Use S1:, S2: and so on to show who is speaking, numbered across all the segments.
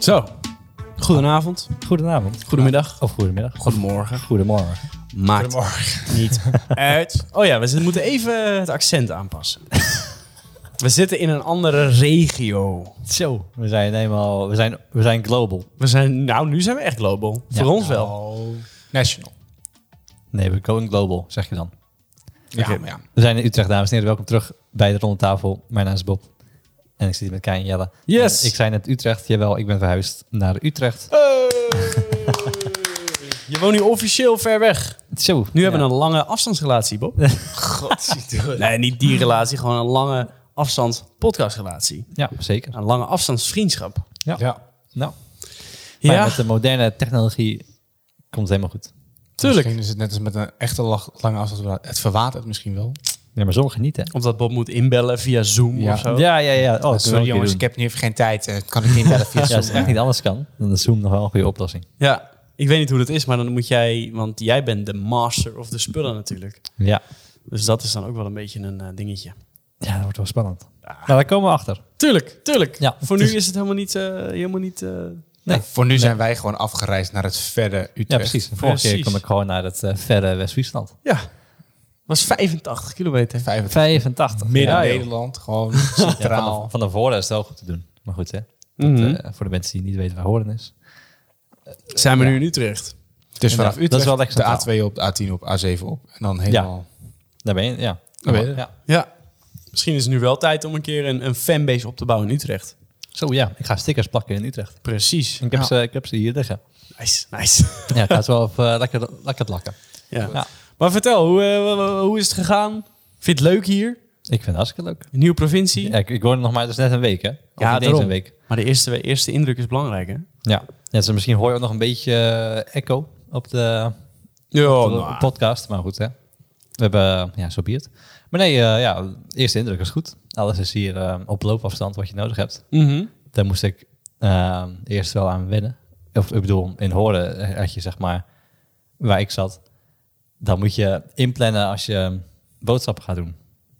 S1: Zo, goedenavond,
S2: Goedenavond.
S1: goedemiddag,
S2: Of goedemiddag.
S1: goedemorgen,
S2: Goedemorgen.
S1: maakt niet uit. Oh ja, we z- moeten even het accent aanpassen. We zitten in een andere regio.
S2: Zo. We zijn helemaal, we zijn, we zijn global.
S1: We zijn, nou, nu zijn we echt global.
S2: Ja.
S1: Voor ons wel.
S3: National.
S2: Nee, we going global, zeg je dan.
S3: Ja,
S1: Oké.
S3: maar ja.
S2: We zijn in Utrecht, dames en heren. Welkom terug bij de Ronde Tafel. Mijn naam is Bob. En ik zit hier met Kai en Jelle.
S1: Yes.
S2: En ik zei net Utrecht. Jawel, ik ben verhuisd naar Utrecht.
S1: Je woont nu officieel ver weg.
S2: Zo.
S1: Nu hebben we een lange afstandsrelatie, Bob. Nee, niet die relatie, gewoon een lange afstand podcastrelatie.
S2: Ja, zeker.
S1: Een lange afstandsvriendschap.
S3: Ja,
S2: Nou, maar
S1: Ja,
S2: met de moderne technologie komt het helemaal goed.
S1: tuurlijk.
S3: Misschien is het net als met een echte lach- lange afstand. Het verwatert misschien
S2: Oh,
S3: wel.
S2: Ja, maar sommigen niet, hè?
S1: Omdat Bob moet inbellen via Zoom
S3: Ja.
S1: of zo.
S2: Ja, ja, ja. Oh, dat kunnen we ook
S3: Sorry
S2: weer
S3: jongens,
S2: doen.
S3: ik heb nu even geen tijd. eh, kan ik niet bellen
S2: Ja,
S3: via
S2: als het
S3: Zoom.
S2: echt niet anders kan, dan is Zoom nog wel een goede oplossing.
S1: Ja, ik weet niet hoe dat is, maar dan moet jij, want jij bent de master of de spullen natuurlijk.
S2: Ja.
S1: Dus dat is dan ook wel een beetje een eh, dingetje.
S2: Ja, dat wordt wel spannend. Nou, daar komen we achter.
S1: Tuurlijk, tuurlijk.
S2: Ja,
S1: Voor
S2: het
S1: nu is het helemaal niet, eh, helemaal niet eh,
S3: Ja, voor nu zijn wij gewoon afgereisd naar het verre Utrecht.
S2: Ja, precies. De vorige keer
S1: Precies.
S2: kwam ik gewoon naar het eh, verre West-Friesland.
S1: ja, was 85 kilometer.
S3: 85
S2: 85.
S3: midden
S2: Ja, joh.
S3: Nederland, gewoon
S2: Ja, van,
S3: centraal.
S2: de, van de voren is het wel goed te doen. Maar goed, hè.
S1: Mhm.
S2: Eh, voor de mensen die niet weten waar Horen is.
S1: Zijn we nu in Utrecht?
S3: dus vanaf
S2: dat is
S3: Utrecht
S2: wel lekker
S3: de A2 op, de A10 op, A7 op. En dan helemaal...
S2: Daar ben je, ja.
S3: Daar ben je.
S2: Ja.
S1: Ja. Misschien is het nu wel tijd om een keer een, een fanbase op te bouwen in Utrecht.
S2: Zo ja, ik ga stickers plakken in Utrecht.
S1: Precies.
S2: Ik heb,
S3: Ja.
S2: ze, ik heb ze hier liggen.
S1: Nice, nice.
S2: Ja, ik ga ze wel op, eh, lekker, lekker plakken.
S1: ja.
S2: Ja.
S1: Maar vertel, hoe, eh, hoe is het gegaan? Vind je het leuk hier?
S2: Ik vind het hartstikke leuk.
S1: Een nieuwe provincie?
S2: Ja, ik, ik woon er nog maar, dus net een week, hè? Of
S1: Ja,
S2: niet eens
S1: daarom.
S2: een week.
S1: Maar de eerste, eerste indruk is belangrijk, hè?
S2: Ja. ja dus misschien hoor je ook nog een beetje eh, echo op de,
S1: Ja, nou.
S2: Tot een podcast, maar goed hè. We hebben, ja, zo be it. Maar nee, eh, ja, eerste indruk is goed. Alles is hier eh, op loopafstand wat je nodig hebt.
S1: Mhm.
S2: Daar moest ik eh, eerst wel aan wennen. Of ik bedoel, in horen eh, had je zeg maar, waar ik zat, dan moet je inplannen als je eh, boodschappen gaat doen.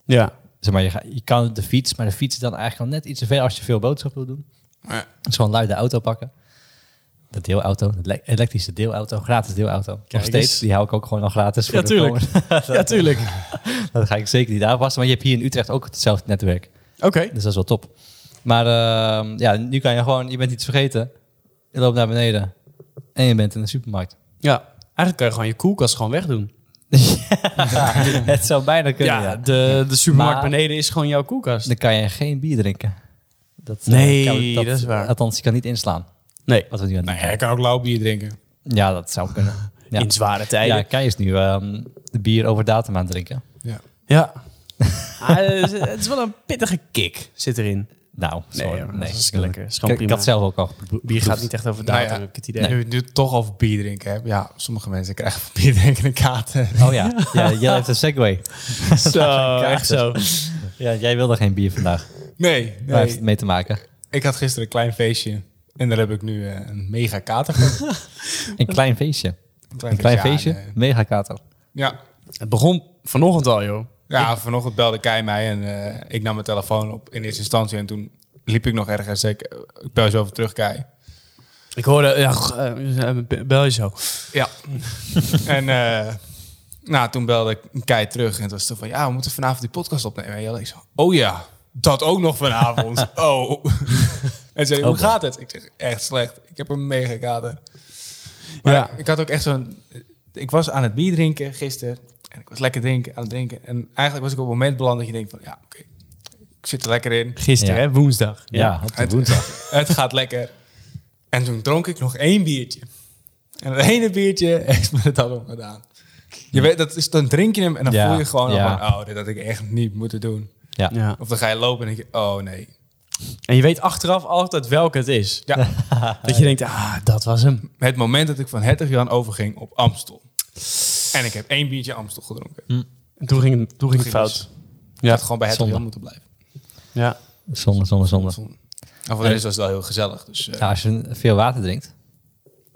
S1: Ja.
S2: Zeg maar, je, ga- je kan de fiets, maar de fiets is dan eigenlijk al net iets te ver als je veel boodschappen wil doen.
S3: Ja.
S2: Dus gewoon luide auto pakken. De deelauto, de le- elektrische deelauto, gratis deelauto.
S1: Kijk
S2: Nog steeds,
S1: eens.
S2: die hou ik ook gewoon al gratis voor
S1: Ja,
S2: de
S1: tuurlijk.
S2: komende-
S1: ja, tuurlijk.
S2: Dat ga ik zeker niet aanpassen. Maar je hebt hier in Utrecht ook hetzelfde netwerk.
S1: Oké.
S2: Dus dat is wel top. Maar ehm, ja, nu kan je gewoon, je bent iets vergeten. Je loopt naar beneden. En je bent in de supermarkt.
S1: Ja. Eigenlijk kan je gewoon je koelkast gewoon wegdoen.
S2: het zou bijna kunnen. Ja,
S1: de, de supermarkt
S2: Maar-
S1: beneden is gewoon jouw koelkast.
S2: Dan kan je geen bier drinken. Dat, eh,
S1: Nee,
S2: kan-
S1: dat is waar.
S2: Althans, je kan niet inslaan.
S1: Nee.
S2: Wat we nu aan het
S3: Nou ja, ik kan ook lauw bier drinken.
S2: doen. Ja, dat zou kunnen. Ja,
S1: In zware tijden.
S2: ja
S1: Ja.
S2: Kai is nu ehm, de bier over datum aan het drinken.
S3: Ja.
S1: Ah, het is- het is wel een pittige kick, zit erin.
S2: Nou, sorry.
S1: hoor,
S2: Nee,
S1: dat is
S2: tuurlijk.
S1: lekker. Dat is gewoon
S2: ik, ik
S1: prima.
S2: had zelf ook al gepro-
S1: Bier gaat niet echt over
S3: Nou
S1: datum,
S3: ja.
S1: heb ik het idee.
S3: Nu we het toch over bier drinken hebben. Ja, sommige mensen krijgen van bier drinken een kaart.
S2: Oh ja, ja jij heeft een segway.
S1: Zo, echt zo.
S2: Ja, jij wilde geen bier vandaag.
S3: Nee,
S2: Waar heeft
S3: nee.
S2: het mee te maken?
S3: Ik had gisteren een klein feestje. En daar heb ik nu eh, een mega kater gehad.
S2: Een klein feestje.
S3: klein,
S2: Een klein
S3: ja,
S2: feestje,
S3: nee.
S2: mega kater.
S3: Ja.
S1: Het begon vanochtend al, joh.
S3: ja, vanochtend belde Kai mij en eh, ik nam mijn telefoon op in eerste instantie. En toen liep ik nog ergens. Zei ik, eh, ik bel zo even terug, Kai.
S1: Ik hoorde, ja, g- eh, be- bel je zo.
S3: Ja. en eh, nou, toen belde ik Kai terug. En het was toen van, ja, we moeten vanavond die podcast opnemen. En Jelle, ik zo, oh ja, dat ook nog vanavond. oh. en zei ik, hoe
S2: Oh, boy.
S3: gaat het? Ik zeg, echt slecht. Ik heb een mega kader. Maar
S1: Ja.
S3: ik had ook echt zo'n... Ik was aan het bier drinken gisteren. En ik was lekker drinken, aan het drinken. En eigenlijk was ik op een moment beland dat je denkt van, ja, oké. ik zit er lekker in.
S1: Gisteren,
S2: Ja.
S1: hè, woensdag.
S2: Ja, op de
S3: Het-
S2: woensdag.
S3: Het gaat lekker. En toen dronk ik nog één biertje. En dat ene biertje heeft me dat om gedaan. Je weet, dat is, dan drink je hem en dan
S2: Ja,
S3: voel je gewoon al
S2: ja.
S3: van, oh, dit had ik echt niet moeten doen.
S2: Ja.
S1: Ja.
S3: Of dan ga je lopen en denk je, oh nee.
S1: En je weet achteraf altijd welke het is.
S3: Ja,
S1: Dat je denkt, ah, dat was hem.
S3: het moment dat ik van Hertog Jan overging op Amstel. En ik heb één biertje Amstel gedronken.
S1: En toen ging, het- toen ging het
S3: Ging
S1: fout.
S3: Ik had gewoon bij Hertog
S2: Hm. zonde.
S3: Jan moeten blijven.
S1: Ja.
S2: Zonde, zonde, zonde.
S3: En voor de rest was het wel heel gezellig. Dus, eh, ja.
S2: Ja, als je veel water drinkt.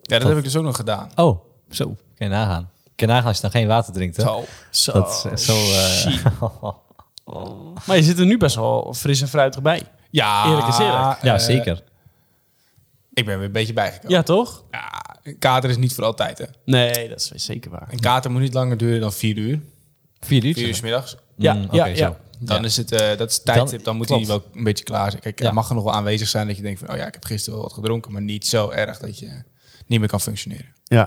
S3: dat heb ik dus ook nog gedaan.
S2: Oh, zo. Kan je nagaan. Kan je nagaan als je dan geen water drinkt. Hè?
S3: Zo.
S1: Zo.
S2: Dat is eh, zo... eh,
S1: Maar je zit er nu best wel fris en fruitig bij.
S3: Ja,
S1: Eerlijk is eerlijk.
S2: ja,
S3: eh,
S2: zeker.
S3: Ik ben weer een beetje bijgekomen.
S1: Ja, toch?
S3: Ja, een kater is niet voor altijd, hè.
S1: Nee, dat is zeker waar.
S3: Een kater moet niet langer duren dan vier uur.
S2: Vier uur.
S3: Vier uur 's middags.
S1: Ja,
S2: Mm,
S1: ja,
S2: oké,
S1: ja.
S2: zo.
S3: Dan
S2: Ja.
S3: is het, eh, dat is het tijdstip, dan moet hij
S2: klopt.
S3: wel een beetje klaar zijn. Kijk,
S2: Ja.
S3: er mag er nog wel aanwezig zijn dat je denkt van, oh ja, ik heb gisteren wel wat gedronken, maar niet zo erg dat je niet meer kan functioneren.
S1: Ja.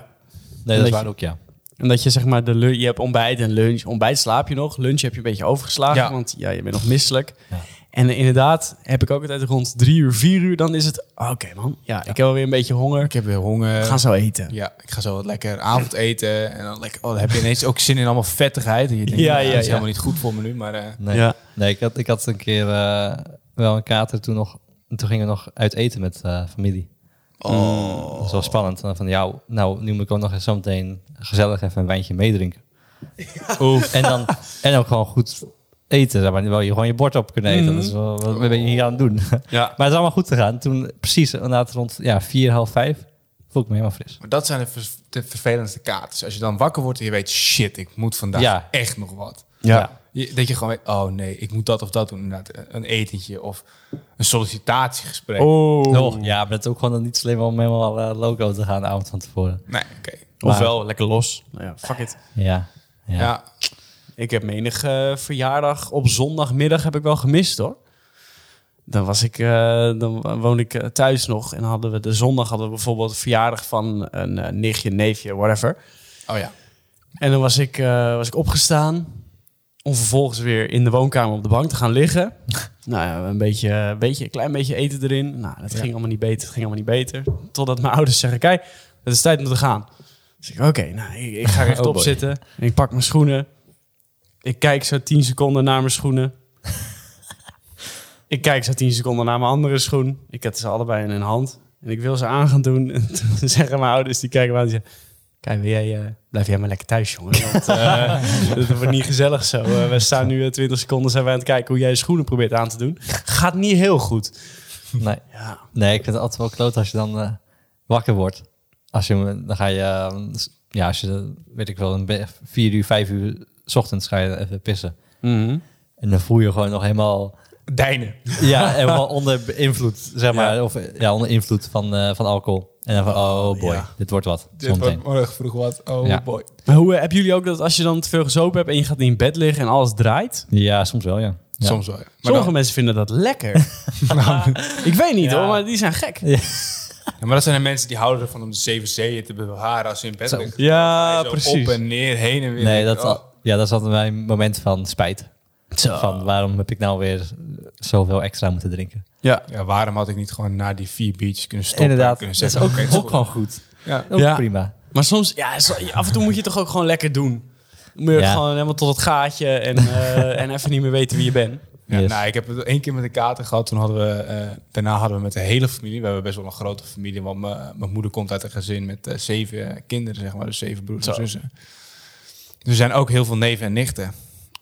S2: Nee, dat is
S1: Dat
S2: waar
S1: je-
S2: ook, ja.
S1: En dat je zeg maar, de lu- je hebt ontbijt en lunch. Ontbijt slaap je nog. Lunch heb je een beetje overgeslagen,
S3: Ja.
S1: want ja, je bent nog misselijk.
S2: Ja.
S1: En inderdaad, heb ik ook altijd rond drie uur, vier uur, dan is het... Oké man, ja, ik heb alweer een beetje honger.
S3: Ik heb weer honger.
S1: We gaan zo eten.
S3: Ja, ik ga zo wat lekker avondeten. En dan lekker, oh, dan heb je ineens ook zin in allemaal vettigheid. En je denkt,
S1: Ja,
S3: ja, ja,
S1: ja,
S3: dat is
S1: ja.
S3: helemaal niet goed voor me nu, maar... eh,
S2: Nee,
S1: Ja.
S2: nee ik, had, ik had een keer eh, wel een kater toen nog. Toen gingen we nog uit eten met eh, familie.
S3: oh.
S2: Dat was wel spannend. En dan van jou, nou, nu moet ik ook nog eens zometeen gezellig even een wijntje meedrinken.
S3: Oef.
S2: En dan en ook gewoon goed eten, zeg maar wel je gewoon je bord op kunnen eten.
S1: Mhm.
S2: Dat is wel, wat ben je hier aan het doen?
S3: Ja.
S2: maar het is allemaal goed gegaan. Toen precies inderdaad rond ja, vier, half vijf voel ik me helemaal fris.
S3: Maar dat zijn de, vers- de vervelendste katers. Als je dan wakker wordt en je weet, shit, ik moet vandaag
S2: Ja.
S3: echt nog wat.
S1: Ja.
S3: Je, dat je gewoon weet, oh nee, ik moet dat of dat doen. Inderdaad, een etentje of een sollicitatiegesprek.
S1: Oh.
S2: Oh, ja, maar het is ook gewoon niet slim om helemaal eh, loco te gaan de avond van tevoren.
S3: Nee, oké.
S1: Ofwel, lekker los. Nou ja, fuck it.
S2: Ja.
S3: Ja.
S2: Ja.
S1: Ik heb menig eh, verjaardag op zondagmiddag heb ik wel gemist hoor. Dan, was ik, eh, dan woonde ik eh, thuis nog en hadden we de zondag hadden we bijvoorbeeld een verjaardag van een eh, nichtje, neefje, whatever.
S3: Oh ja.
S1: En dan was ik, eh, was ik opgestaan om vervolgens weer in de woonkamer op de bank te gaan liggen. nou ja, een, beetje, een, beetje, een klein beetje eten erin. Nou, dat
S3: Ja.
S1: ging allemaal niet beter, het ging allemaal niet beter. Totdat mijn ouders zeggen, kijk, het is tijd om te gaan. Dus ik, oké, nou, ik, ik ga rechtop
S2: Oh boy.
S1: zitten. En ik pak mijn schoenen. Ik kijk zo 10 seconden naar mijn schoenen. ik kijk zo 10 seconden naar mijn andere schoen. Ik heb ze allebei in een hand. En ik wil ze aan gaan doen. En toen zeggen mijn ouders, die kijken me aan en zeggen... Kijk, wil jij, eh, blijf jij maar lekker thuis, jongen. Want eh, het wordt niet gezellig zo. Eh, we staan nu eh, 20 seconden zijn we aan het kijken hoe jij je schoenen probeert aan te doen. Gaat niet heel goed.
S2: Nee.
S1: Ja,
S2: nee, ik vind het altijd wel kloot als je dan eh, wakker wordt. Als je, dan ga je, eh, s- ja, als je, weet ik wel, een be- vier uur, vijf uur 's ochtends ga je even pissen. En dan voel je gewoon nog helemaal,
S3: Deinen.
S2: ja, helemaal onder invloed, zeg maar.
S1: Ja.
S2: Of eh, ja, onder invloed van, eh, van alcohol. En dan van, oh boy,
S1: Ja.
S2: dit wordt wat.
S3: Dit
S2: Zometeen.
S3: wordt morgen vroeg wat. Oh
S2: Ja.
S3: boy.
S1: Maar hoe eh, hebben jullie ook dat als je dan te veel gezopen hebt en je gaat in bed liggen en alles draait?
S2: Ja, soms wel, ja. ja.
S3: Soms wel. ja. Maar,
S1: Sommige
S3: dan,
S1: mensen vinden dat lekker. ik weet niet
S2: Ja.
S1: hoor, maar die zijn gek.
S3: Ja, maar dat zijn de mensen die houden ervan om de zeven zeeën te bewaren als ze in bed
S2: Zo.
S3: liggen.
S1: Ja,
S3: Zo Op en neer, heen en weer.
S2: Nee,
S3: Ik denk,
S2: dat,
S3: oh.
S2: ja, dat is altijd mijn moment van spijt.
S1: Zo.
S2: Van waarom heb ik nou weer zoveel extra moeten drinken?
S1: Ja.
S3: Ja, waarom had ik niet gewoon na die vier biertjes kunnen stoppen? en
S2: Inderdaad,
S3: kunnen
S2: dat is
S3: zeggen,
S2: ook,
S3: oké, het is
S2: ook
S3: goed.
S2: gewoon goed.
S3: Ja.
S2: Ook
S1: Ja.
S2: prima.
S1: Maar soms, ja, zo- af en toe moet je het toch ook gewoon lekker doen. Dan moet je
S2: Ja.
S1: gewoon helemaal tot het gaatje en, eh, en even niet meer weten wie je bent.
S3: Ja,
S2: Yes.
S3: nou, ik heb het één keer met een kater gehad. Toen hadden we, eh, daarna hadden we met de hele familie. We hebben best wel een grote familie. Want mijn mijn moeder komt uit een gezin met eh, zeven eh, kinderen, zeg maar. Dus zeven broers en
S1: Zo.
S3: zussen. Dus er zijn ook heel veel neven en nichten.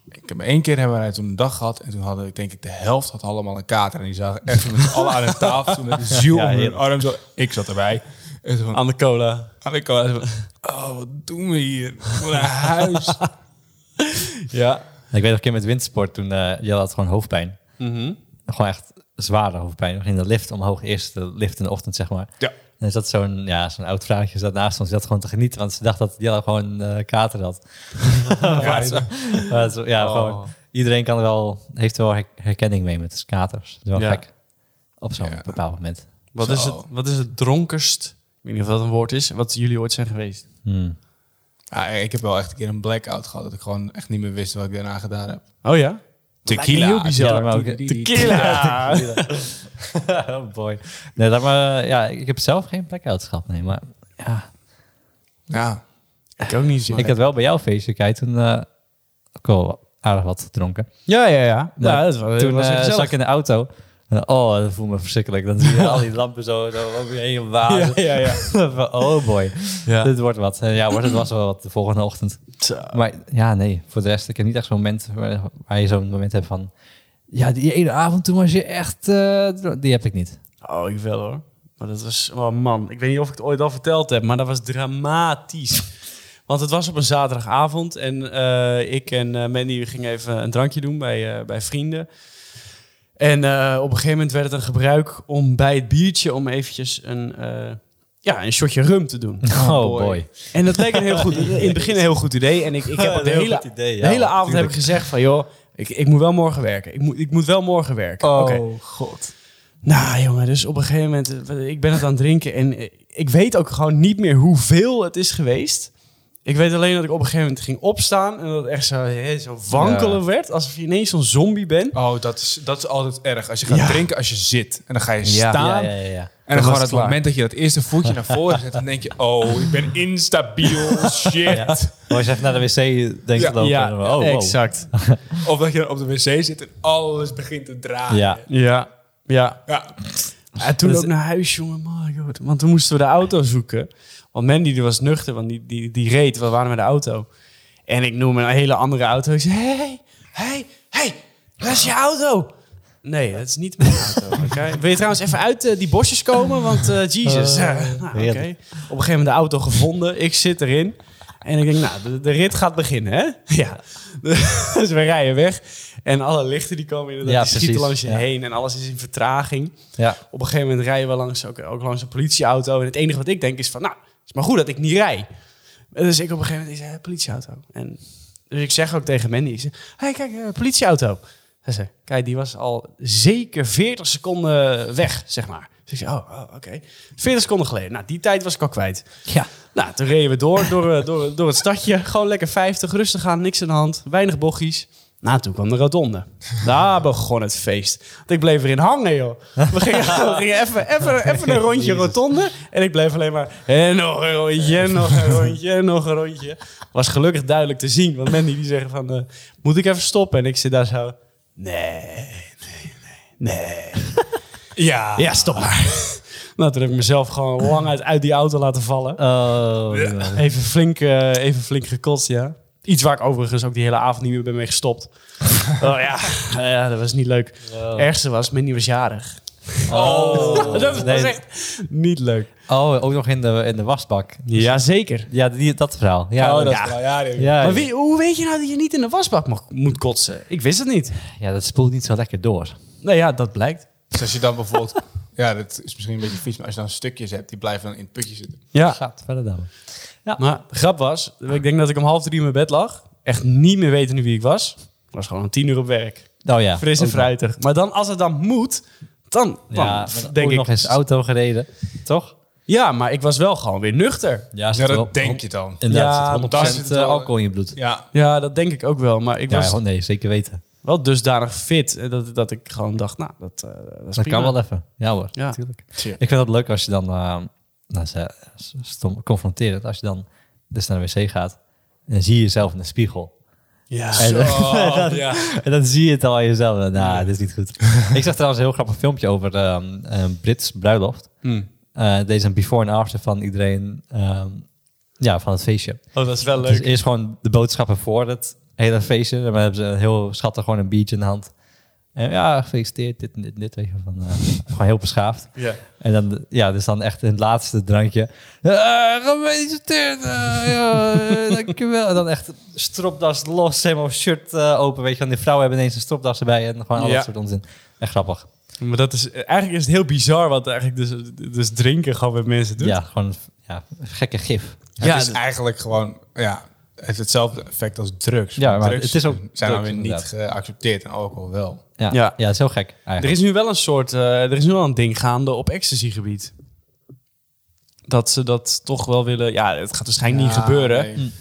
S3: Ik heb één keer hebben wij toen een dag gehad. En toen hadden, ik denk ik, de helft had allemaal een kater. En die zagen echt met z'n allen aan een tafel. Toen met de ziel
S2: Ja,
S3: onder hun
S2: heerlijk.
S3: arm. Zo. Ik zat erbij. En toen van,
S1: Aan de cola.
S3: en ik kwam uit van, oh, wat doen we hier? Wat een huis.
S1: Ja.
S2: Ik weet nog een keer met wintersport toen eh Jelle had gewoon hoofdpijn. Gewoon echt zware hoofdpijn. We gingen de lift omhoog, eerst de lift in de ochtend, zeg maar.
S3: Ja.
S2: En er zat zo'n ja, zo'n oud vrouwtje zat naast ons, die zat gewoon te genieten, want ze dacht dat Jelle gewoon eh, kater had.
S3: Ja,
S2: Maar zo- ja,
S1: Oh.
S2: gewoon, iedereen kan er wel, heeft er wel her- herkenning mee met dus katers. Dat is wel
S1: Ja.
S2: gek. Op zo'n
S3: Ja.
S2: bepaald moment.
S1: Wat,
S3: Zo.
S1: is het, wat is het dronkerst, ik weet niet of dat een woord is, wat jullie ooit zijn geweest?
S2: Hmm.
S3: Ja, ik heb wel echt een keer een blackout gehad. Dat ik gewoon echt niet meer wist wat ik daarna gedaan heb.
S1: Oh ja?
S3: Tequila.
S1: Heel bizar.
S2: Ja, maar ook-
S1: Tequila!
S2: oh boy. Nee, dat maar, eh, ja, ik heb zelf geen blackouts gehad, nee, maar ja.
S3: Ja.
S1: Ik ook niet zo.
S2: Ik had wel bij jouw feestje, Kijk, toen eh ook wel aardig wat gedronken.
S1: Ja, ja, ja.
S2: Maar
S1: ja dat was,
S2: toen
S1: Oh, was
S2: eh,
S1: echt
S2: zat
S1: gezellig.
S2: ik in de auto. En, oh, dat voelde me verschrikkelijk. Dan zie je al die lampen zo, zo om je heen wazen.
S1: Ja, ja, ja.
S2: Van, oh boy,
S1: Ja.
S2: dit wordt wat. En ja, wordt het was wel wat de volgende ochtend.
S1: Zo.
S2: Maar ja, nee, voor de rest, ik heb niet echt zo'n moment waar, waar je zo'n moment hebt van... Ja, die ene avond toen was je echt... eh, die heb ik niet.
S1: Oh, ik wel hoor. Maar dat was, oh man, ik weet niet of ik het ooit al verteld heb, maar dat was dramatisch. Want het was op een zaterdagavond en eh, ik en eh Mandy gingen even een drankje doen bij, eh, bij vrienden. En eh, op een gegeven moment werd het een gebruik om bij het biertje om eventjes een, eh, ja, een shotje rum te doen.
S2: Oh,
S3: boy.
S2: boy.
S1: En dat leek een heel goed, in het begin een heel goed idee. En ik, ik heb
S2: Een
S1: al de
S2: heel
S1: hele,
S2: goed idee,
S1: de
S2: ja,
S1: hele avond heb ik gezegd van, joh, ik, ik moet wel morgen werken. Ik moet, ik moet wel morgen werken.
S2: Oh.
S1: Oké.
S3: god.
S1: Nou jongen, dus op een gegeven moment, eh, ik ben het aan het drinken en eh, ik weet ook gewoon niet meer hoeveel het is geweest. Ik weet alleen dat ik op een gegeven moment ging opstaan en dat het echt zo, hè, zo wankelen werd, alsof je ineens zo'n zombie bent.
S3: Oh, dat is, dat is altijd erg. Als je gaat
S1: Ja.
S3: drinken, als je zit. En dan ga je
S1: Ja.
S3: staan.
S2: Ja, ja, ja, ja.
S1: Dan was
S3: En dan gewoon
S1: het
S3: het
S1: klaar.
S3: moment dat je dat eerste voetje naar voren zet, dan denk je, oh, ik ben instabiel, shit.
S2: Ja. Maar als je even naar de wc denkt
S3: Ja.
S2: lopen. en dan- oh, wow.
S1: exact.
S3: Of dat je dan op de wc zit en alles begint te draaien.
S2: Ja.
S1: Ja, ja.
S3: Ja.
S1: En toen
S2: Dat is-
S1: ook naar huis, jongen. My God. Want toen moesten we de auto zoeken. Want Mandy die was nuchter, want die, die, die reed. We waren met de auto. En ik noem een hele andere auto. Ik zeg, hé, hé, hé, hé, dat is je auto. Nee, dat is niet mijn auto. oké? Wil je trouwens even uit eh, die bosjes komen? Want eh Jesus.
S2: Eh,
S1: Eh, nou, oké.
S2: heerlijk.
S1: Op een gegeven moment de auto gevonden. Ik zit erin. En ik denk, nou, de, de rit gaat beginnen, hè? Ja. Dus we rijden weg. En alle lichten die komen inderdaad,
S2: Ja,
S1: die schieten
S2: precies.
S1: langs je
S2: Ja.
S1: heen. En alles is in vertraging
S2: ja.
S1: op een gegeven moment rijden we langs, ook, ook langs een politieauto. En het enige wat ik denk is van, nou, het is maar goed dat ik niet rij. En Dus ik op een gegeven moment, ik zei, eh, politieauto. En dus ik zeg ook tegen Mandy, ik zeg, hey, kijk, eh, politieauto. Hij zei, kijk, die was al zeker 40 seconden weg, zeg maar. Dus ik zei, oh, oh, oké. 40 seconden geleden. Nou, die tijd was ik al kwijt.
S2: Ja.
S1: Nou, toen reden we door, door, eh, door, door het stadje. Gewoon lekker 50, rustig aan, niks aan de hand. Weinig bochtjes. Nou, toen kwam de rotonde. Daar begon het feest. Want ik bleef erin hangen, joh. We gingen, we gingen even, even, even een rondje rotonde. En ik bleef alleen maar... En nog een rondje, en nog een rondje, en nog een rondje. Was gelukkig duidelijk te zien. Want Mandy die zegt van... eh, moet ik even stoppen? En ik zit daar zo... Nee, nee, nee, nee.
S3: Ja.
S1: Ja, stop maar. Nou, toen heb ik mezelf gewoon lang uit, uit die auto laten vallen.
S2: Oh, man.
S1: Even flink, eh, even flink gekotst, ja. Iets waar ik overigens ook die hele avond niet meer ben mee gestopt. oh ja, Nou ja, dat was niet leuk. Het ergste was, Minnie was jarig.
S2: Oh.
S1: dat was
S2: Nee.
S1: echt niet leuk.
S2: Oh, ook nog in de, in de wasbak. Dus
S1: Jazeker.
S2: Ja, die, dat verhaal. Ja,
S3: Ja, oh, dat
S2: ja.
S3: is wel- ja, nee.
S2: Ja,
S1: Maar wie, hoe weet je nou dat je niet in de wasbak mag, moet kotsen? Ik wist het niet.
S2: ja, dat spoelt niet zo lekker door.
S1: Nou ja, dat blijkt.
S3: Dus als je dan bijvoorbeeld... Ja, dat is misschien een beetje vies, maar als je dan stukjes hebt, die blijven dan in het putje zitten.
S1: Ja.
S2: Gaat verder dan.
S1: Maar de grap was, ik denk dat ik om half drie in mijn bed lag. Echt niet meer weten wie ik was. Ik was gewoon om tien uur op werk.
S2: Oh ja.
S1: Fris en
S2: ook nog.
S1: fruitig. Maar dan, als het dan moet, dan, dan
S2: Ja, maar
S1: denk
S2: ook
S1: ik...
S2: nog eens auto gereden. Toch?
S1: Ja, maar ik was wel gewoon weer nuchter.
S2: is
S3: Ja,
S2: het
S3: dat
S2: wel-
S3: denk je dan.
S1: Ja,
S2: Inderdaad, ja,
S3: daar
S2: 100%
S3: zit het wel-
S2: eh, alcohol in je bloed.
S3: Ja.
S1: Ja, dat denk ik ook wel. Maar ik
S2: Ja,
S1: was
S2: oh nee, zeker weten.
S1: wel dusdanig fit eh, dat, dat ik gewoon dacht, nou, dat, eh, dat is
S2: Dat
S1: prima.
S2: kan wel even. Ja hoor,
S1: Ja.
S2: natuurlijk.
S3: Tja.
S2: Ik vind dat leuk als je dan, eh, nou, ze- stom, confronterend, als je dan dus naar de wc gaat en dan zie je jezelf in de spiegel.
S1: Ja.
S2: En,
S3: Oh, ja.
S2: en dan zie je het al aan jezelf. Nou, dit is niet goed. ik zag trouwens een heel grappig filmpje over ehm, een Brits bruiloft. Eh, deze een before en after van iedereen ehm, ja, van het feestje.
S1: Oh, dat is wel
S2: Dus eerst gewoon de boodschappen voor het hele feestje. En dan hebben ze een heel schattig gewoon een biertje in de hand. En ja, gefeliciteerd, dit en dit en dit. Weet je, wel, van, eh, gewoon heel beschaafd.
S1: Ja.
S2: En dan, ja, dus dan echt in het laatste drankje. eh gefeliciteerd, eh, ja, eh, dankjewel. En dan echt stropdas los, helemaal shirt eh, open. Weet je, want die vrouwen hebben ineens een stropdas erbij. En gewoon al
S1: Ja.
S2: dat soort onzin. Echt grappig.
S1: Maar dat is, eigenlijk is het heel bizar wat eigenlijk dus, dus drinken gewoon met mensen doet.
S2: Ja, gewoon ja, gekke gif.
S3: Het is eigenlijk gewoon, ja, het heeft hetzelfde effect als drugs.
S2: Ja, maar
S3: drugs
S2: het is ook
S3: zijn
S2: drugs,
S3: dan weer niet
S2: inderdaad.
S3: geaccepteerd en alcohol wel.
S2: Ja,
S1: Ja.
S2: ja. ja zo gek eigenlijk.
S1: Er is nu wel een soort, eh, er is nu wel een ding gaande op ecstasygebied. Dat ze dat toch wel willen, ja, het gaat waarschijnlijk niet
S3: Ja,
S1: gebeuren.
S3: nee.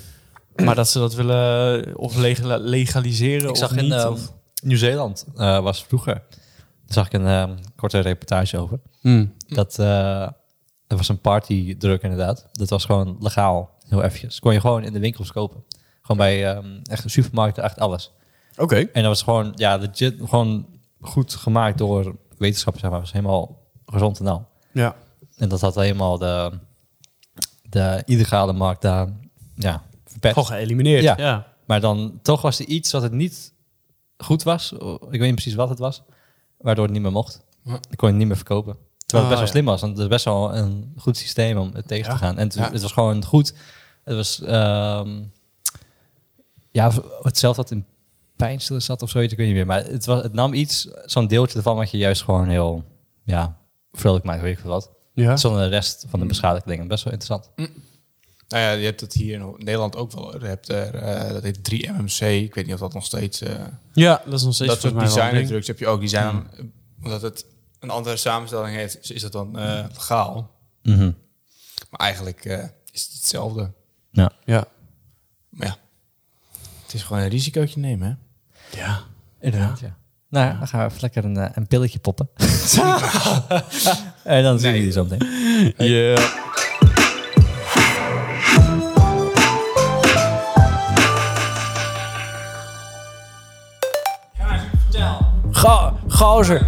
S1: Maar dat ze dat willen eh, of legala- legaliseren
S2: Ik
S1: of
S2: zag
S1: niet.
S2: in ehm,
S1: of-
S2: Nieuw-Zeeland eh, was vroeger. Daar zag ik een ehm, korte reportage over.
S1: Hmm.
S2: Dat eh er was een partydruk inderdaad. Dat was gewoon legaal, heel eventjes. Kon je gewoon in de winkels kopen. Gewoon bij ehm, echt supermarkten, echt alles.
S1: Oké.
S2: En dat was gewoon, ja, legit, gewoon goed gemaakt door wetenschappers, zeg maar. Het was helemaal gezond en al.
S1: Ja.
S2: En dat had helemaal de, de illegale markt daar, ja, verpest.
S1: Gewoon geëlimineerd.
S2: Ja.
S1: ja.
S2: Maar dan toch was er iets wat het niet goed was. Ik weet niet precies wat het was. Waardoor het niet meer mocht.
S3: Ja.
S2: Ik kon je het niet meer verkopen. Terwijl het
S1: Ah,
S2: best wel slim was. Want het is best wel een goed systeem om het tegen
S1: Ja.
S2: te gaan. En het,
S3: Ja.
S2: het was gewoon goed. Het was ehm, ja, hetzelfde wat in pijnstiller zat of zoiets, ik weet niet meer. Maar het, was, het nam iets, zo'n deeltje ervan wat je juist gewoon heel ja, vrolijk maakt, weet ik veel wat.
S1: Ja. Mm.
S2: Zonder de rest van de beschadigde dingen. Best wel interessant.
S3: Nou ja, je hebt dat hier in Nederland ook wel. Je hebt er, eh, dat heet 3MMC. Ik weet niet of dat nog steeds... eh,
S1: ja, dat is nog steeds
S3: dat
S1: volgens mij
S3: soort
S1: wel een ding.
S3: designerdrugs heb je ook. Die zijn, dan- omdat het een andere samenstelling heeft, is dat dan eh, legaal.
S2: Mhm.
S3: Maar eigenlijk eh, is het hetzelfde.
S2: Ja.
S1: Ja.
S3: Maar ja, het is gewoon een risicootje nemen, hè?
S1: Ja.
S2: Inderdaad, ja. Nou, ja, dan gaan we even lekker een, eh, een pilletje poppen. en dan zien we jullie zo meteen.
S1: Ja.
S4: Ga, gozer,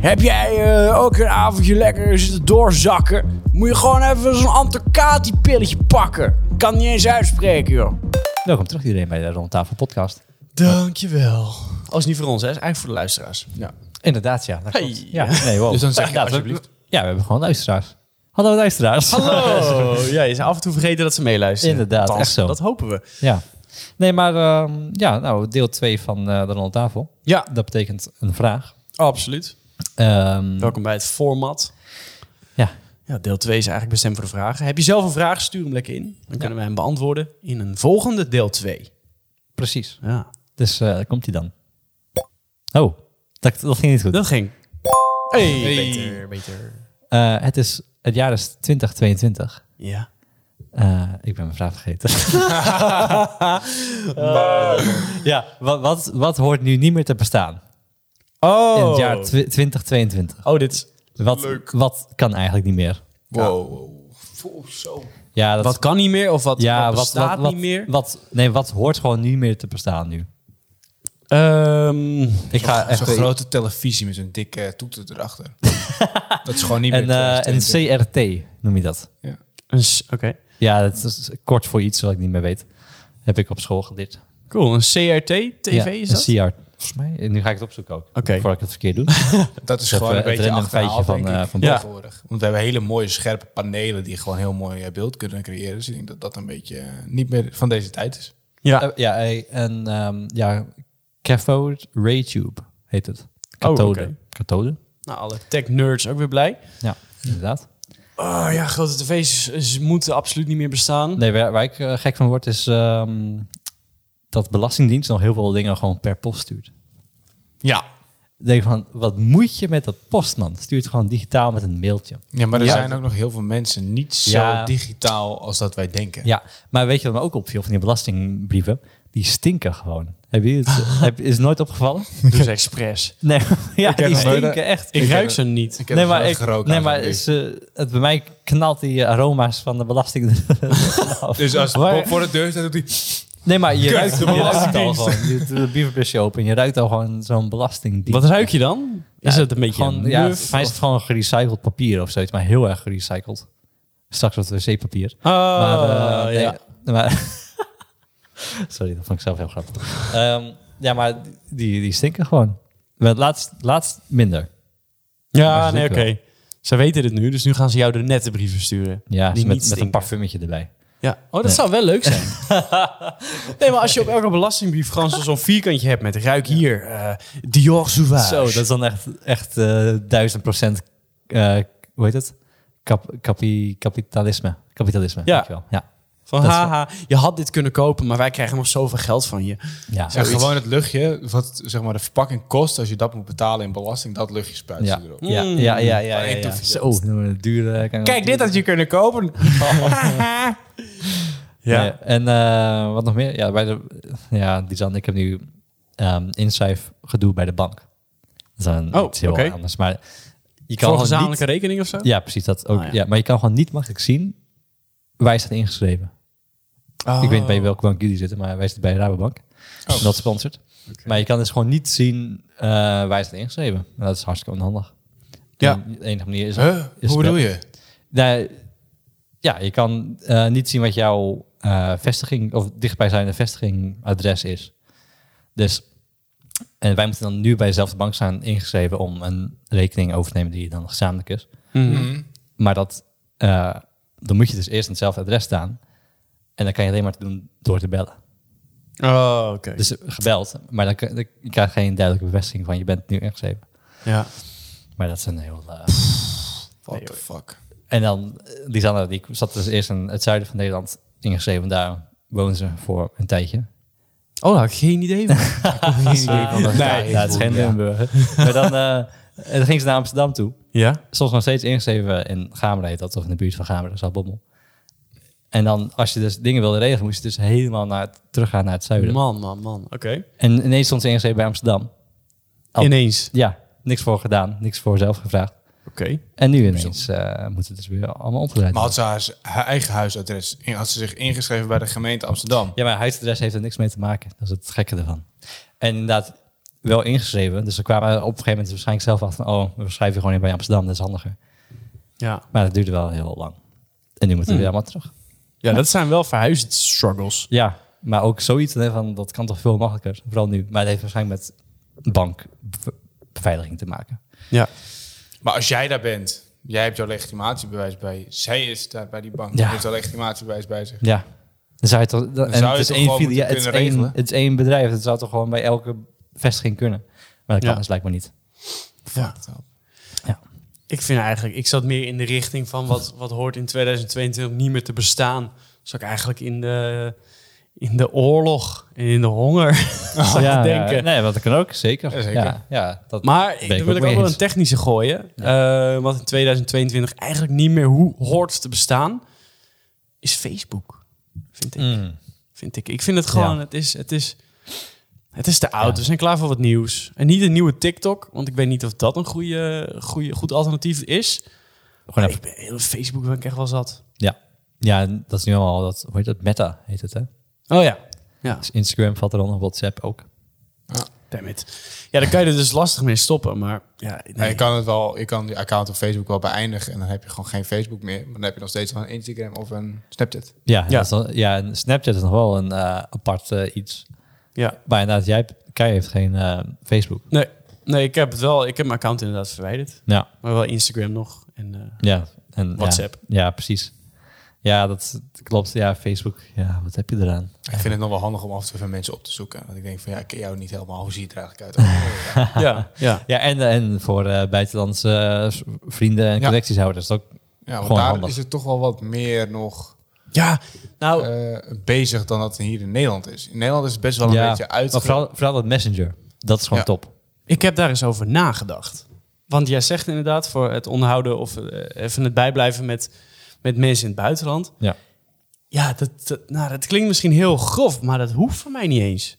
S4: heb jij eh, ook een avondje lekker zitten doorzakken? Moet je gewoon even zo'n Antercati-pilletje pakken. Kan niet eens uitspreken, joh.
S2: Welkom terug iedereen bij de Rondtafel podcast.
S1: Dankjewel. Als niet voor ons, hè. Oh, is eigenlijk voor de luisteraars. Ja.
S2: Inderdaad, ja. dat
S1: Hey.
S2: klopt. ja. Nee, wow.
S3: Dus dan zeg je
S2: ja, we-
S3: alsjeblieft.
S2: ja, we hebben gewoon luisteraars. Hallo luisteraars.
S1: Oh, ja, je is af en toe vergeten dat ze meeluisteren.
S2: Inderdaad,
S1: Althans,
S2: echt zo.
S1: Dat hopen we.
S2: Ja. Nee, maar ehm, ja, nou, deel 2 van eh de Rondtafel.
S1: Ja,
S2: Dat betekent een vraag.
S1: absoluut.
S2: Ehm,
S1: Welkom bij het format.
S2: Ja.
S1: Ja, deel 2 is eigenlijk bestemd voor de vragen. Heb je zelf een vraag, stuur hem lekker in. Dan kunnen wij hem beantwoorden in een volgende deel 2.
S2: Precies.
S1: Ja.
S2: Dus eh, daar komt hij dan. Oh, dat, dat ging niet goed.
S1: Dat ging. Hey,
S3: beter,
S1: beter.
S2: Eh, het, is, het jaar is 2022.
S1: Ja.
S2: Eh, ik ben mijn vraag vergeten. Eh, ja, wat, wat, wat hoort nu niet meer te bestaan
S1: Oh.
S2: in het jaar twi- 2022?
S1: Oh, dit is...
S2: Wat,
S3: Leuk.
S2: wat kan eigenlijk niet meer?
S3: Wow. wow. Wow, zo.
S2: Ja, dat,
S1: Wat kan niet meer of wat,
S2: ja,
S1: wat bestaat
S2: wat,
S1: niet meer?
S2: Wat, nee, wat hoort gewoon niet meer te bestaan nu?
S1: Ehm,
S2: Ik ga echt...
S3: Zo'n grote televisie met zo'n dikke toeter erachter. dat is gewoon niet
S2: en,
S3: meer...
S2: eh, een
S3: 2022.
S2: CRT noem je dat.
S1: een s- Oké.
S2: Ja, dat is kort voor iets wat ik niet meer weet. Heb ik op school geleerd.
S1: Cool. Een CRT-TV
S2: Ja,
S1: is dat?
S2: Een CR. Volgens mij. En Nu ga ik het opzoeken ook.
S1: Oké.
S2: Voordat ik het verkeerd doe.
S3: Dat is
S2: Dat
S3: gewoon
S2: we
S3: een
S2: het
S3: beetje
S2: random
S3: achterhaald,
S2: feitje van,
S3: denk ik,
S2: eh, van
S1: Ja.
S3: tegenwoordig. Want we hebben hele mooie scherpe panelen die gewoon heel mooi eh, beeld kunnen creëren. Dus ik denk dat dat een beetje eh, niet meer van deze tijd is.
S1: Ja.
S2: Eh, ja, eh, en ehm, ja, cathode ray tube heet het.
S1: oké.
S3: Oh,
S2: Kathode. Kathode,
S1: nou, alle tech-nerds ook weer blij.
S2: inderdaad.
S1: Oh ja, grote tv's is- moeten absoluut niet meer bestaan.
S2: Nee, waar, waar ik eh, gek van word is ehm, dat Belastingdienst nog heel veel dingen gewoon per post stuurt.
S3: Ja.
S2: Ik Denk van, wat moet je met dat postman? Stuur het gewoon digitaal met een mailtje.
S3: Ja, maar er
S1: Ja.
S3: zijn ook nog heel veel mensen niet zo
S2: Ja.
S3: digitaal als dat wij denken.
S2: Ja, maar weet je wat me ook opviel van die belastingbrieven? Die stinken gewoon. Heb je het, heb, is het nooit opgevallen?
S1: Dus expres.
S2: Nee, ja,
S3: heb
S2: die
S3: nog nooit-
S2: stinken echt.
S1: Ik,
S3: Ik
S1: ruik
S3: heb-
S1: ze niet.
S3: Ik heb
S2: Nee,
S3: het
S2: maar,
S3: nooit
S2: ik,
S3: gerookt
S2: nee,
S3: aan
S2: maar
S3: zo'n
S2: is, eh, het, bij mij knalt die eh, aroma's van de belasting
S3: brief. Dus als
S2: Waar-
S3: Bob voor de deur staat, doet hij...
S2: Nee, maar je
S3: Kut,
S2: ruikt, je
S3: de
S2: ruikt het al
S3: belastingdienst.
S2: gewoon. Je doet de bievenbusje open en je ruikt al gewoon zo'n belastingdienst.
S1: Wat ruik je dan? Is
S2: Ja,
S1: het een beetje
S2: Gewoon,
S1: een
S2: ja,
S1: muf?
S2: voor mij is het gewoon gerecycled papier of zoiets, maar heel erg gerecycled. Straks wat wc-papier.
S1: Oh,
S2: maar, eh, nee,
S1: ja.
S2: maar- Sorry, dat vond ik zelf heel grappig. Ehm, ja, maar die, die stinken gewoon. Maar Laatst, laatst minder.
S1: Ja,
S2: Maar
S1: nee, oké.
S2: zeker.
S1: Ze weten dit nu, dus nu gaan ze jou de nette brieven sturen.
S2: Ja,
S1: Die niet
S2: met, met
S1: stinken.
S2: een parfummetje erbij.
S1: Ja. Oh, dat
S2: Nee.
S1: zou wel leuk zijn. nee, maar als je op elke belastingbrief gewoon zo- zo'n vierkantje hebt met ruik hier, eh, Dior Sauvage.
S2: Zo, dat is dan echt, echt eh, duizend procent, eh, hoe heet het? Kap, kapi- kapitalisme. Kapitalisme,
S1: Ja.
S2: dankjewel. Ja.
S1: Van
S2: dat is
S1: haha, je had dit kunnen kopen, maar wij krijgen nog zoveel geld van je.
S2: Ja.
S3: Ja, gewoon het luchtje, wat zeg maar de verpakking kost, als je dat moet betalen in belasting, dat luchtje spuit
S2: Ja.
S3: ze erop.
S1: Mm.
S2: Ja, ja, ja, ja,
S3: Eén
S2: ja, ja.
S3: toefje.
S2: Zo, eh, een dure.
S1: Kijk, dit had je kunnen kopen.
S2: Ja.
S1: ja.
S2: en eh, wat nog meer? Ja, bij de, ja Dizan, ik heb nu ehm inschrijf gedoe bij de bank. Dat is een,
S1: Oh,
S2: iets heel
S1: oké.
S2: anders. Maar je kan
S1: Voor
S2: gewoon
S1: gezamenlijke
S2: niet-
S1: rekening of zo?
S2: Ja, precies dat ook.
S1: Ah, ja.
S2: ja. maar je kan gewoon niet makkelijk zien waar je staat ingeschreven.
S1: Oh.
S2: Ik weet niet bij welke bank jullie zitten, maar wij zitten bij Rabobank.
S3: Oh.
S2: Dat sponsort. Maar je kan dus gewoon niet zien eh, waar je staat ingeschreven. En dat is hartstikke onhandig.
S1: Ja.
S2: En De enige manier is...
S3: Huh?
S2: is
S3: Hoe
S2: met-
S3: bedoel je?
S2: nou, ja, je kan eh, niet zien wat jouw eh, vestiging of dichtbijzijnde vestigingadres is. Dus, en wij moeten dan nu bij dezelfde bank staan ingeschreven om een rekening over te nemen die dan gezamenlijk is.
S1: Mhm.
S2: Maar dat, eh, dan moet je dus eerst aan hetzelfde adres staan. En dan kan je alleen maar te doen door te bellen.
S1: Oh, oké.
S2: Dus gebeld, maar dan, k- dan- ik krijg geen duidelijke bevestiging van je bent nu ingeschreven.
S1: ja.
S2: Maar dat is een heel... eh,
S3: What the fuck?
S2: En dan, eh, Lisanne, die zat dus eerst in het zuiden van Nederland ingeschreven. Daar woonde ze voor een tijdje.
S1: Oh, daar had ik geen idee van. Ah.
S2: nee, dat is geen Limburg. Maar dan, eh, en dan ging ze naar Amsterdam toe.
S1: ja?
S2: Soms nog steeds ingeschreven in Gameren heet dat, of in de buurt van Gameren, Zalbommel. En dan, als je dus dingen wilde regelen, moest je dus helemaal naar het, teruggaan naar het zuiden.
S1: Man, man, man. Oké.
S2: En ineens stond ze ingeschreven bij Amsterdam. Oh.
S1: Ineens.
S2: Ja, niks voor gedaan, niks voor zelf gevraagd.
S1: Oké.
S2: En nu ineens eh moeten het dus weer allemaal opgeleid
S3: Maar
S2: worden.
S3: had ze haar, z- haar eigen huisadres, in- had ze zich ingeschreven bij de gemeente Amsterdam?
S2: Ja, maar huisadres heeft er niks mee te maken. Dat is het gekke ervan. En inderdaad, wel ingeschreven. Dus ze kwamen op een gegeven moment waarschijnlijk zelf achter... van, oh, we schrijven gewoon in bij Amsterdam, dat is handiger.
S1: Ja.
S2: Maar dat duurde wel heel lang. En nu moeten we weer allemaal terug.
S1: ja, dat zijn wel verhuisstruggles.
S2: Ja, maar ook zoiets hè, van, dat kan toch veel makkelijker. Vooral nu. Maar het heeft waarschijnlijk met bankbeveiliging te maken.
S1: Ja.
S3: Maar als jij daar bent, jij hebt jouw legitimatiebewijs bij je. Zij is daar bij die bank,
S2: Ja.
S3: die heeft haar legitimatiebewijs bij zich.
S2: Ja. Dan zou je toch... en
S3: zou je
S2: het, is
S3: toch
S2: één
S3: gewoon
S2: fili- ja, het,
S3: moeten
S2: is
S3: kunnen
S2: één,
S3: regelen?
S2: het is één bedrijf. Het zou toch gewoon bij elke vestiging kunnen. Maar dat kan
S1: Ja.
S2: dus blijkbaar niet.
S1: Ja.
S3: Fucked up.
S1: Ik vind eigenlijk, ik zat meer in de richting van wat, wat hoort in 2022 niet meer te bestaan. Zat ik eigenlijk in de, in de oorlog en in de honger.
S2: ja, ja.
S1: denken.
S2: Nee, want dat kan ook. Zeker.
S3: Ja,
S2: Ja,
S3: zeker.
S2: ja, dat
S1: Maar
S2: ik
S1: dan
S2: ook
S1: wil ik
S2: mee
S1: ook wel
S2: eens.
S1: een technische gooien. Eh, wat in 2022 eigenlijk niet meer hoe hoort te bestaan, is Facebook. Vind ik.
S2: Mm.
S1: Vind ik. ik vind het gewoon,
S2: Ja.
S1: het, is, het, is, het is te oud. We zijn klaar voor wat nieuws. En niet een nieuwe TikTok, want ik weet niet of dat een goede, goede, goed alternatief is.
S2: Gewoon even-
S1: Ik ben heel Facebook ben ik echt wel zat.
S2: ja. ja, dat is nu al dat, hoe heet dat? Meta heet het, hè?
S1: Oh ja. Ja,
S2: Dus Instagram valt er dan op WhatsApp ook.
S1: damn it. Ja, dan kan je er dus lastig mee stoppen, maar ja, nee.
S3: Ja, je kan het wel, je kan die account op Facebook wel beëindigen en dan heb je gewoon geen Facebook meer. Maar dan heb je nog steeds wel een Instagram of een Snapchat.
S2: Ja,
S1: Ja.
S2: ja. Is dan, ja en Snapchat is nog wel een eh, apart eh, iets.
S1: Ja.
S2: Maar inderdaad, jij, hebt- Kai heeft geen eh, Facebook.
S1: Nee, nee, ik heb het wel, ik heb mijn account inderdaad verwijderd.
S2: Ja,
S1: Maar wel Instagram nog en eh,
S2: ja. En, ja.
S1: WhatsApp.
S2: Ja, precies. Ja, dat klopt. Ja, Facebook. Ja, wat heb je eraan?
S3: Ik vind het nog wel handig om af en toe even mensen op te zoeken. Want ik denk van ja, ik ken jou niet helemaal. Hoe zie je er eigenlijk uit? Oh, ja.
S1: ja, ja.
S2: Ja, en, en voor eh, buitenlandse eh, s- vrienden en
S3: Ja.
S2: collectieshouders. Dat is ook,
S3: Ja, want
S2: Gewoon
S3: daar
S2: handig.
S3: is het toch wel wat meer nog
S1: Ja, nou,
S3: eh, bezig dan dat hier in Nederland is. In Nederland is het best wel een
S2: ja,
S3: beetje uit.
S2: maar vooral, vooral dat Messenger. Dat is gewoon
S3: Ja.
S2: top.
S1: ik heb daar eens over nagedacht. Want jij zegt inderdaad voor het onderhouden of eh, even het bijblijven met, met mensen in het buitenland.
S2: Ja.
S1: Ja, dat, dat- nou, dat klinkt misschien heel grof, maar dat hoeft voor mij niet eens.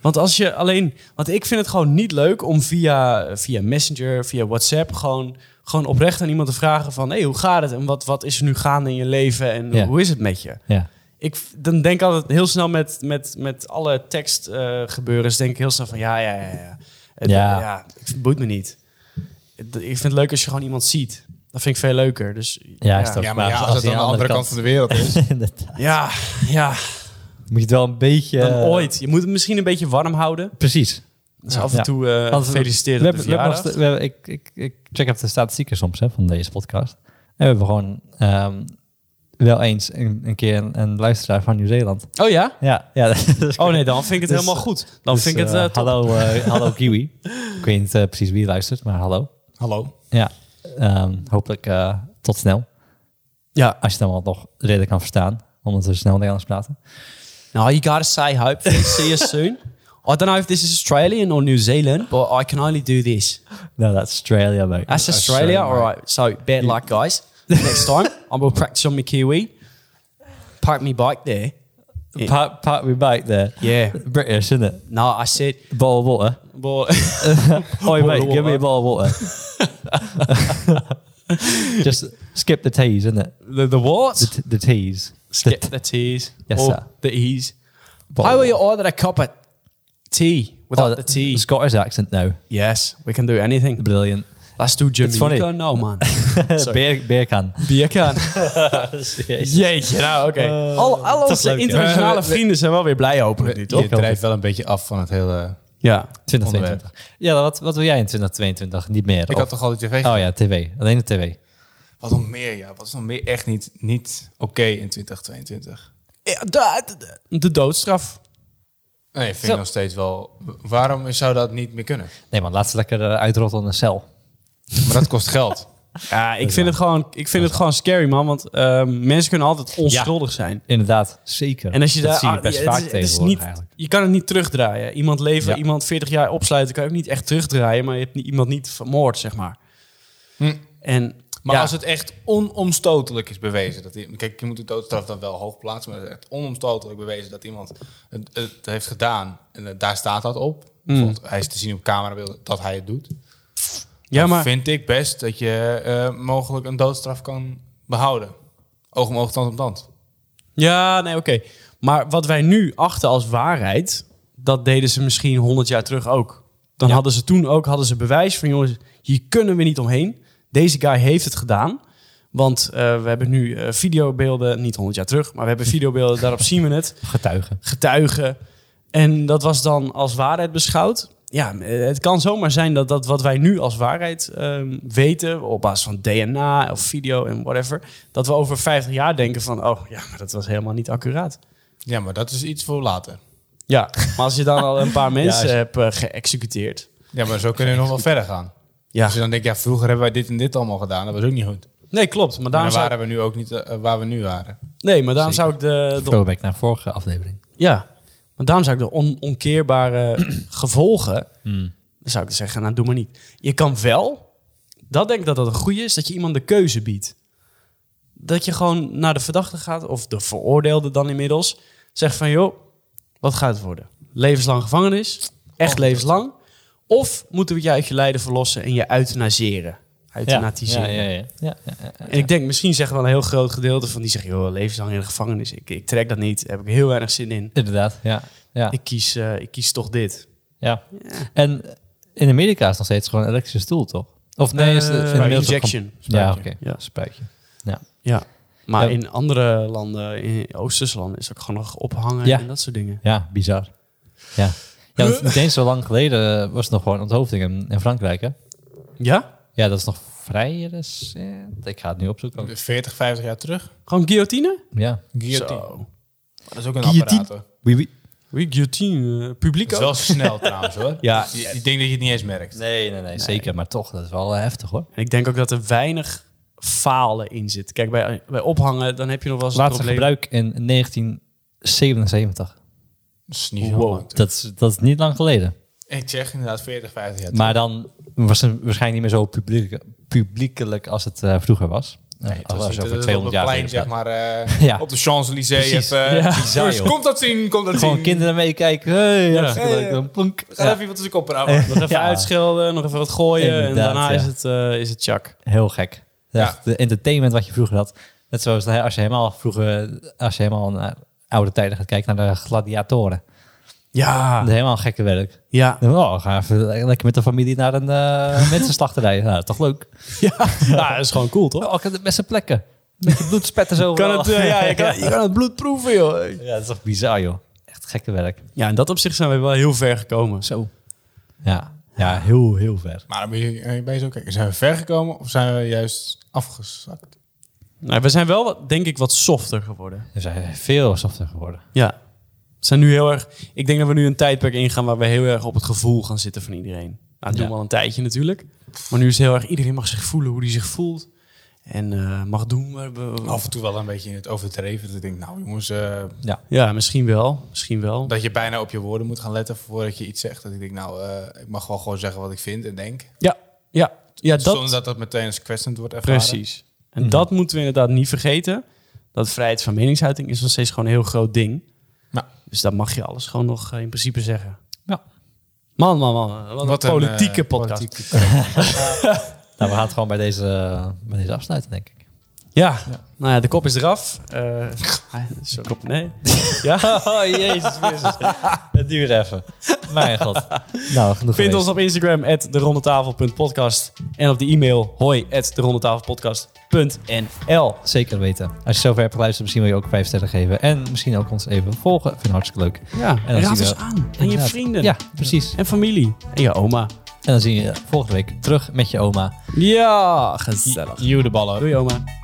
S1: Want als je alleen. Want ik vind het gewoon niet leuk om via, via Messenger, via WhatsApp. gewoon, gewoon oprecht aan iemand te vragen: van... hé, hey, hoe gaat het? En wat, wat is er nu gaande in je leven? En
S2: Ja.
S1: hoe is het met je?
S2: Ja.
S1: Ik v- dan denk ik altijd heel snel met, met, met alle tekstgebeurens. Dus denk ik heel snel van ja, ja, ja. ja. Het,
S2: Ja.
S1: eh, ja het boeit me niet. Het- ik vind het leuk als je gewoon iemand ziet. Dat vind ik veel leuker. Dus,
S2: Ja, is toch-
S3: Ja, maar ja,
S2: Maar
S3: als,
S2: als
S3: het
S2: die
S3: aan de andere kant, van de wereld is.
S2: Inderdaad.
S1: ja, ja,
S2: Moet je het wel een beetje...
S1: dan
S2: eh,
S1: ooit. Je moet het misschien een beetje warm houden.
S2: Precies.
S1: Dus af en
S2: Ja.
S1: toe eh,
S2: Want we-
S1: gefeliciteerd
S2: we
S1: op de
S2: hebben- we hebben
S1: verjaardag.
S2: nog st- we hebben- ik, ik, ik check even de statistieken soms hè, van deze podcast. En we hebben gewoon ehm, wel eens een, een keer een, een luisteraar van Nieuw-Zeeland.
S1: Oh ja?
S2: Ja, ja. dus-
S1: Oh nee, dan vind ik het
S2: Dus,
S1: helemaal goed. Dan
S2: dus,
S1: vind ik het...
S2: eh,
S1: eh, top.
S2: hallo, eh, hallo Kiwi. ik weet niet eh, precies wie luistert, maar hallo.
S3: Hallo.
S2: Ja, ehm, hopelijk eh, tot snel.
S1: Ja.
S2: Als je het dan wel nog redelijk kan verstaan, omdat we snel Nederlands praten.
S1: No, Nou, you gotta say hopefully see you soon. I don't know if this is Australian or New Zealand, but I can only do this.
S2: Nou, dat is Australia, mate.
S1: That's Australia.
S3: Australia,
S1: All right. So bad luck, guys. Next time, I will practice on my Kiwi. Park my bike there.
S2: Park, park me back there.
S1: Yeah.
S2: British, isn't it?
S1: No, I said.
S2: Bottle of water.
S1: Well,
S2: Oi, mate,
S1: water.
S2: give me a bottle of water. Just skip the T's, isn't it?
S1: the, the
S2: The,
S1: what?
S2: t- the T's.
S1: Skip the T's.
S2: Yes,
S1: or
S2: sir.
S1: The E's.
S2: Bottle
S1: How will
S2: of
S1: you order a cup of tea without
S2: water.
S1: the T?
S2: Oh, Scottish accent now.
S1: Yes, we can do anything.
S2: Brilliant.
S1: Let's do Jamaica.
S2: funny.
S1: No, man.
S2: beer, beer can.
S1: Bier kan. Jeetje, nou oké. al, al
S2: is leuk,
S1: onze
S2: hè?
S1: internationale vrienden zijn wel weer blij, hopelijk nu, toch?
S3: Je drijft wel een beetje af van het hele...
S1: Ja.
S2: 2022. Ja, wat, wat wil jij in 2022? Niet meer.
S3: Ik
S2: of-
S3: had toch al die tv
S2: Oh ja, tv. Alleen de tv.
S3: Wat nog meer, ja. Wat is nog meer echt niet, niet oké in 2022?
S1: Eh, Ja, de, de- de doodstraf.
S3: Nee, vind
S2: Zo.
S3: ik nog steeds wel. Waarom zou dat niet meer kunnen?
S2: Nee man, laat ze lekker eh, uitrotten in een cel.
S3: Maar dat kost geld.
S1: Ja, ik vind, het gewoon, ik vind het gewoon scary, man. Want ehm, mensen kunnen altijd onschuldig zijn.
S2: Inderdaad, zeker.
S1: En als je
S2: dat
S1: daar,
S2: zie je
S1: ah,
S2: best
S1: ja,
S2: vaak
S1: het is- het is
S2: tegenwoordig
S1: niet-
S2: eigenlijk.
S1: Je kan het niet terugdraaien. Iemand leven,
S2: Ja.
S1: iemand 40 jaar opsluiten, kan je ook niet echt terugdraaien. Maar je hebt ni- iemand niet vermoord, zeg maar.
S3: Hm.
S1: En,
S3: Maar
S1: ja,
S3: als het echt onomstotelijk is bewezen. Dat, i- kijk, je moet de doodstraf dan wel hoog plaatsen. Maar het is echt onomstotelijk bewezen dat iemand het, het heeft gedaan. En eh, daar staat dat op. Bijvoorbeeld, hij is te zien op camerabeelden dat hij het doet.
S1: ja,
S3: Dan
S1: maar
S3: vind ik best dat je eh, mogelijk een doodstraf kan behouden. Oog om oog, tand om tand.
S1: Ja, nee, oké. Maar wat wij nu achten als waarheid, dat deden ze misschien 100 jaar terug ook. Dan
S2: Ja.
S1: hadden ze toen ook hadden ze bewijs van, jongens, hier kunnen we niet omheen. Deze guy heeft het gedaan. Want eh, we hebben nu eh, videobeelden, niet 100 jaar terug, maar we hebben videobeelden, daarop zien we het.
S2: Getuigen.
S1: Getuigen. En dat was dan als waarheid beschouwd. Ja, eh, het kan zomaar zijn dat, dat wat wij nu als waarheid ehm, weten, op basis van DNA of video en whatever, dat we over 50 jaar denken van, oh ja, maar dat was helemaal niet accuraat.
S3: Ja, maar dat is iets voor later.
S1: Ja, maar als je dan al een paar mensen
S2: als je-
S1: hebt eh, geëxecuteerd.
S3: Ja, maar zo kunnen we nog wel verder gaan.
S1: Ja.
S3: Als je dan denkt, ja, vroeger hebben wij dit en dit allemaal gedaan. Dat was ook niet goed.
S1: Nee, klopt. Maar
S3: Maar
S1: daarom,
S3: dan
S1: zou,
S3: waren we nu ook niet eh, waar we nu waren.
S1: nee, maar daarom zou ik de, de-
S2: Throwback naar vorige aflevering.
S1: ja, maar daarom zou ik de on- onkeerbare gevolgen,
S2: Hmm.
S1: dan zou ik zeggen, nou doe maar niet. Je kan wel, dat denk ik dat dat een goede is, dat je iemand de keuze biedt. Dat je gewoon naar de verdachte gaat, of de veroordeelde dan inmiddels, zegt van joh, wat gaat het worden? Levenslang gevangenis, echt
S2: Oh.
S1: levenslang. Of moeten we je uit je lijden verlossen en je euthanaseren? Euthanatiseren.
S2: Ja, ja, ja, ja. Ja, ja, ja, ja.
S1: En ik denk, misschien zeggen wel een heel groot gedeelte van die zeggen... joh, levenslang in de gevangenis, ik, ik trek dat niet. Daar heb ik heel weinig zin in.
S2: Inderdaad, ja. ja.
S1: Ik kies, eh, ik kies toch dit.
S2: Ja. En in Amerika is het nog steeds gewoon een elektrische stoel, toch? Of nee, is het
S1: Eh,
S2: inmiddels ook
S1: injection.
S2: gewoon- Ja, oké.
S1: Ja.
S2: Spuitje.
S1: Ja. Maar
S2: Ja.
S1: in andere landen, in Oosterse landen... is het ook gewoon nog ophangen
S2: Ja.
S1: en dat soort dingen.
S2: Ja, bizar. Ja. ja
S1: Eh.
S2: want niet eens zo lang geleden was het nog gewoon onthoofding in, in Frankrijk, hè?
S1: Ja?
S2: Ja, dat is nog vrij recent. Ik ga het nu opzoeken. ook.
S3: 40, 50 jaar terug.
S1: Gewoon guillotine?
S2: Ja.
S3: Guillotine.
S1: Zo.
S3: Dat is ook een
S2: Guillotine.
S3: apparaat hoor.
S2: Wie, wie?
S1: Oui, guillotine. eh, publiek
S3: Dat is
S1: ook.
S3: wel snel trouwens hoor.
S1: Ja.
S3: Je- Ik denk dat je het niet eens merkt.
S2: Nee, nee, nee, Zeker, maar toch, dat is wel eh, heftig, hoor.
S1: En ik denk ook dat er weinig falen in zit. Kijk, bij, bij ophangen, dan heb je nog wel eens het
S2: Laatste
S1: probleem...
S2: gebruik in 1977.
S3: Dat is niet zo
S1: Wow.
S3: lang.
S2: Dat is, dat is niet lang geleden.
S3: Ik zeg inderdaad 40, 50 jaar
S2: Maar dan was het waarschijnlijk niet meer zo publiek, publiekelijk als het eh, vroeger was. Nee,
S3: terug.
S2: was
S3: Dat is niet-
S2: over
S3: dat is
S2: 200 jaar
S3: Op het plein,
S2: geleden.
S3: zeg maar, eh,
S2: Ja.
S3: op de Champs-Élysées.
S2: Precies.
S3: even, eh,
S2: Ja.
S3: dus
S2: Bizar, joh.
S3: komt dat zien, komt dat
S2: Gewoon
S3: zien.
S2: kinderen meekijken. Hey, ja.
S3: Ja,
S2: leuk.
S3: ja.
S2: Dan plonk.
S3: Ga
S2: Ja,
S3: even wat tussen kop eraf.
S1: Nog even
S2: Ja.
S1: uitschelden, nog even wat gooien. en
S2: Inderdaad,
S1: daarna
S2: ja.
S1: is het, eh is het chak.
S2: Heel gek.
S3: Ja.
S2: Echt, De entertainment wat je vroeger had. Net zoals hè, als je helemaal vroeger, als je helemaal naar oude tijden gaat kijken naar de gladiatoren.
S1: Ja.
S2: Dat is helemaal gekke werk.
S1: Ja.
S2: Dan, Oh, ga even le- lekker met de familie naar een eh mensenslachterij. Nou, toch leuk.
S1: Ja, dat is gewoon cool, toch?
S2: Oh, ik heb de beste plekken. Met je bloedspetters zo.
S1: Kan het, eh, ja, je, kan, je kan het bloed proeven, joh.
S2: Ja, dat is toch bizar, joh. Echt gekke werk.
S1: Ja, in dat opzicht zijn we wel heel ver gekomen.
S2: Zo. Ja, ja heel, heel ver.
S3: Maar dan ben je, eh, ben je zo kijken. Zijn we ver gekomen of zijn we juist afgezakt?
S1: Nou, we zijn wel, wat, denk ik, wat softer geworden.
S2: We zijn veel softer geworden.
S1: Ja. We zijn nu heel erg... Ik denk dat we nu een tijdperk ingaan waar we heel erg op het gevoel gaan zitten van iedereen. Nou, dat doen
S2: Ja.
S1: we al een tijdje natuurlijk. Maar nu is het heel erg... Iedereen mag zich voelen hoe hij zich voelt. En eh, mag doen. waar we-
S3: Af en toe wel een beetje in het overdreven. Dat ik denk, nou jongens, eh,
S1: Ja, misschien wel. Misschien wel.
S3: dat je bijna op je woorden moet gaan letten voordat je iets zegt. Dat ik denk, nou, eh, ik mag wel gewoon zeggen wat ik vind en denk.
S1: Ja, ja. ja dat,
S3: Zonder dat dat meteen als kwetsend wordt ervaren.
S1: Precies. En dat moeten we inderdaad niet vergeten. Dat vrijheid van meningsuiting is nog steeds gewoon een heel groot ding.
S3: Ja.
S1: Dus dat mag je alles gewoon nog eh, in principe zeggen.
S2: Ja.
S1: Man, man, man. Wat, een politieke
S3: eh,
S1: podcast.
S3: politieke-
S2: Nou, we gaan het gewoon bij deze, eh, bij deze afsluiten, denk ik.
S1: Ja. Nou ja, de kop is eraf. Eh, zo kop, nee. ja.
S2: Oh, jezus Christus. Het duurt even. Mijn god. Nou, genoeg
S1: Vind
S2: geweest.
S1: ons op Instagram, at derondetafelpodcast. En op de e-mail, hoi, at derondetafelpodcast.nl.
S2: Zeker weten. Als je zover hebt geluisterd, misschien wil je ook 5 sterren geven. En misschien ook ons even volgen. Vind ik hartstikke leuk.
S1: Ja,
S2: dan
S1: en raad
S2: zien we-
S1: ons aan. En je
S2: Inderdaad.
S1: vrienden.
S2: Ja, precies.
S1: En familie. En je oma.
S2: En dan zie je je volgende week terug met je oma.
S1: Ja, gezellig.
S2: Joe de ballen.
S1: Doei, oma.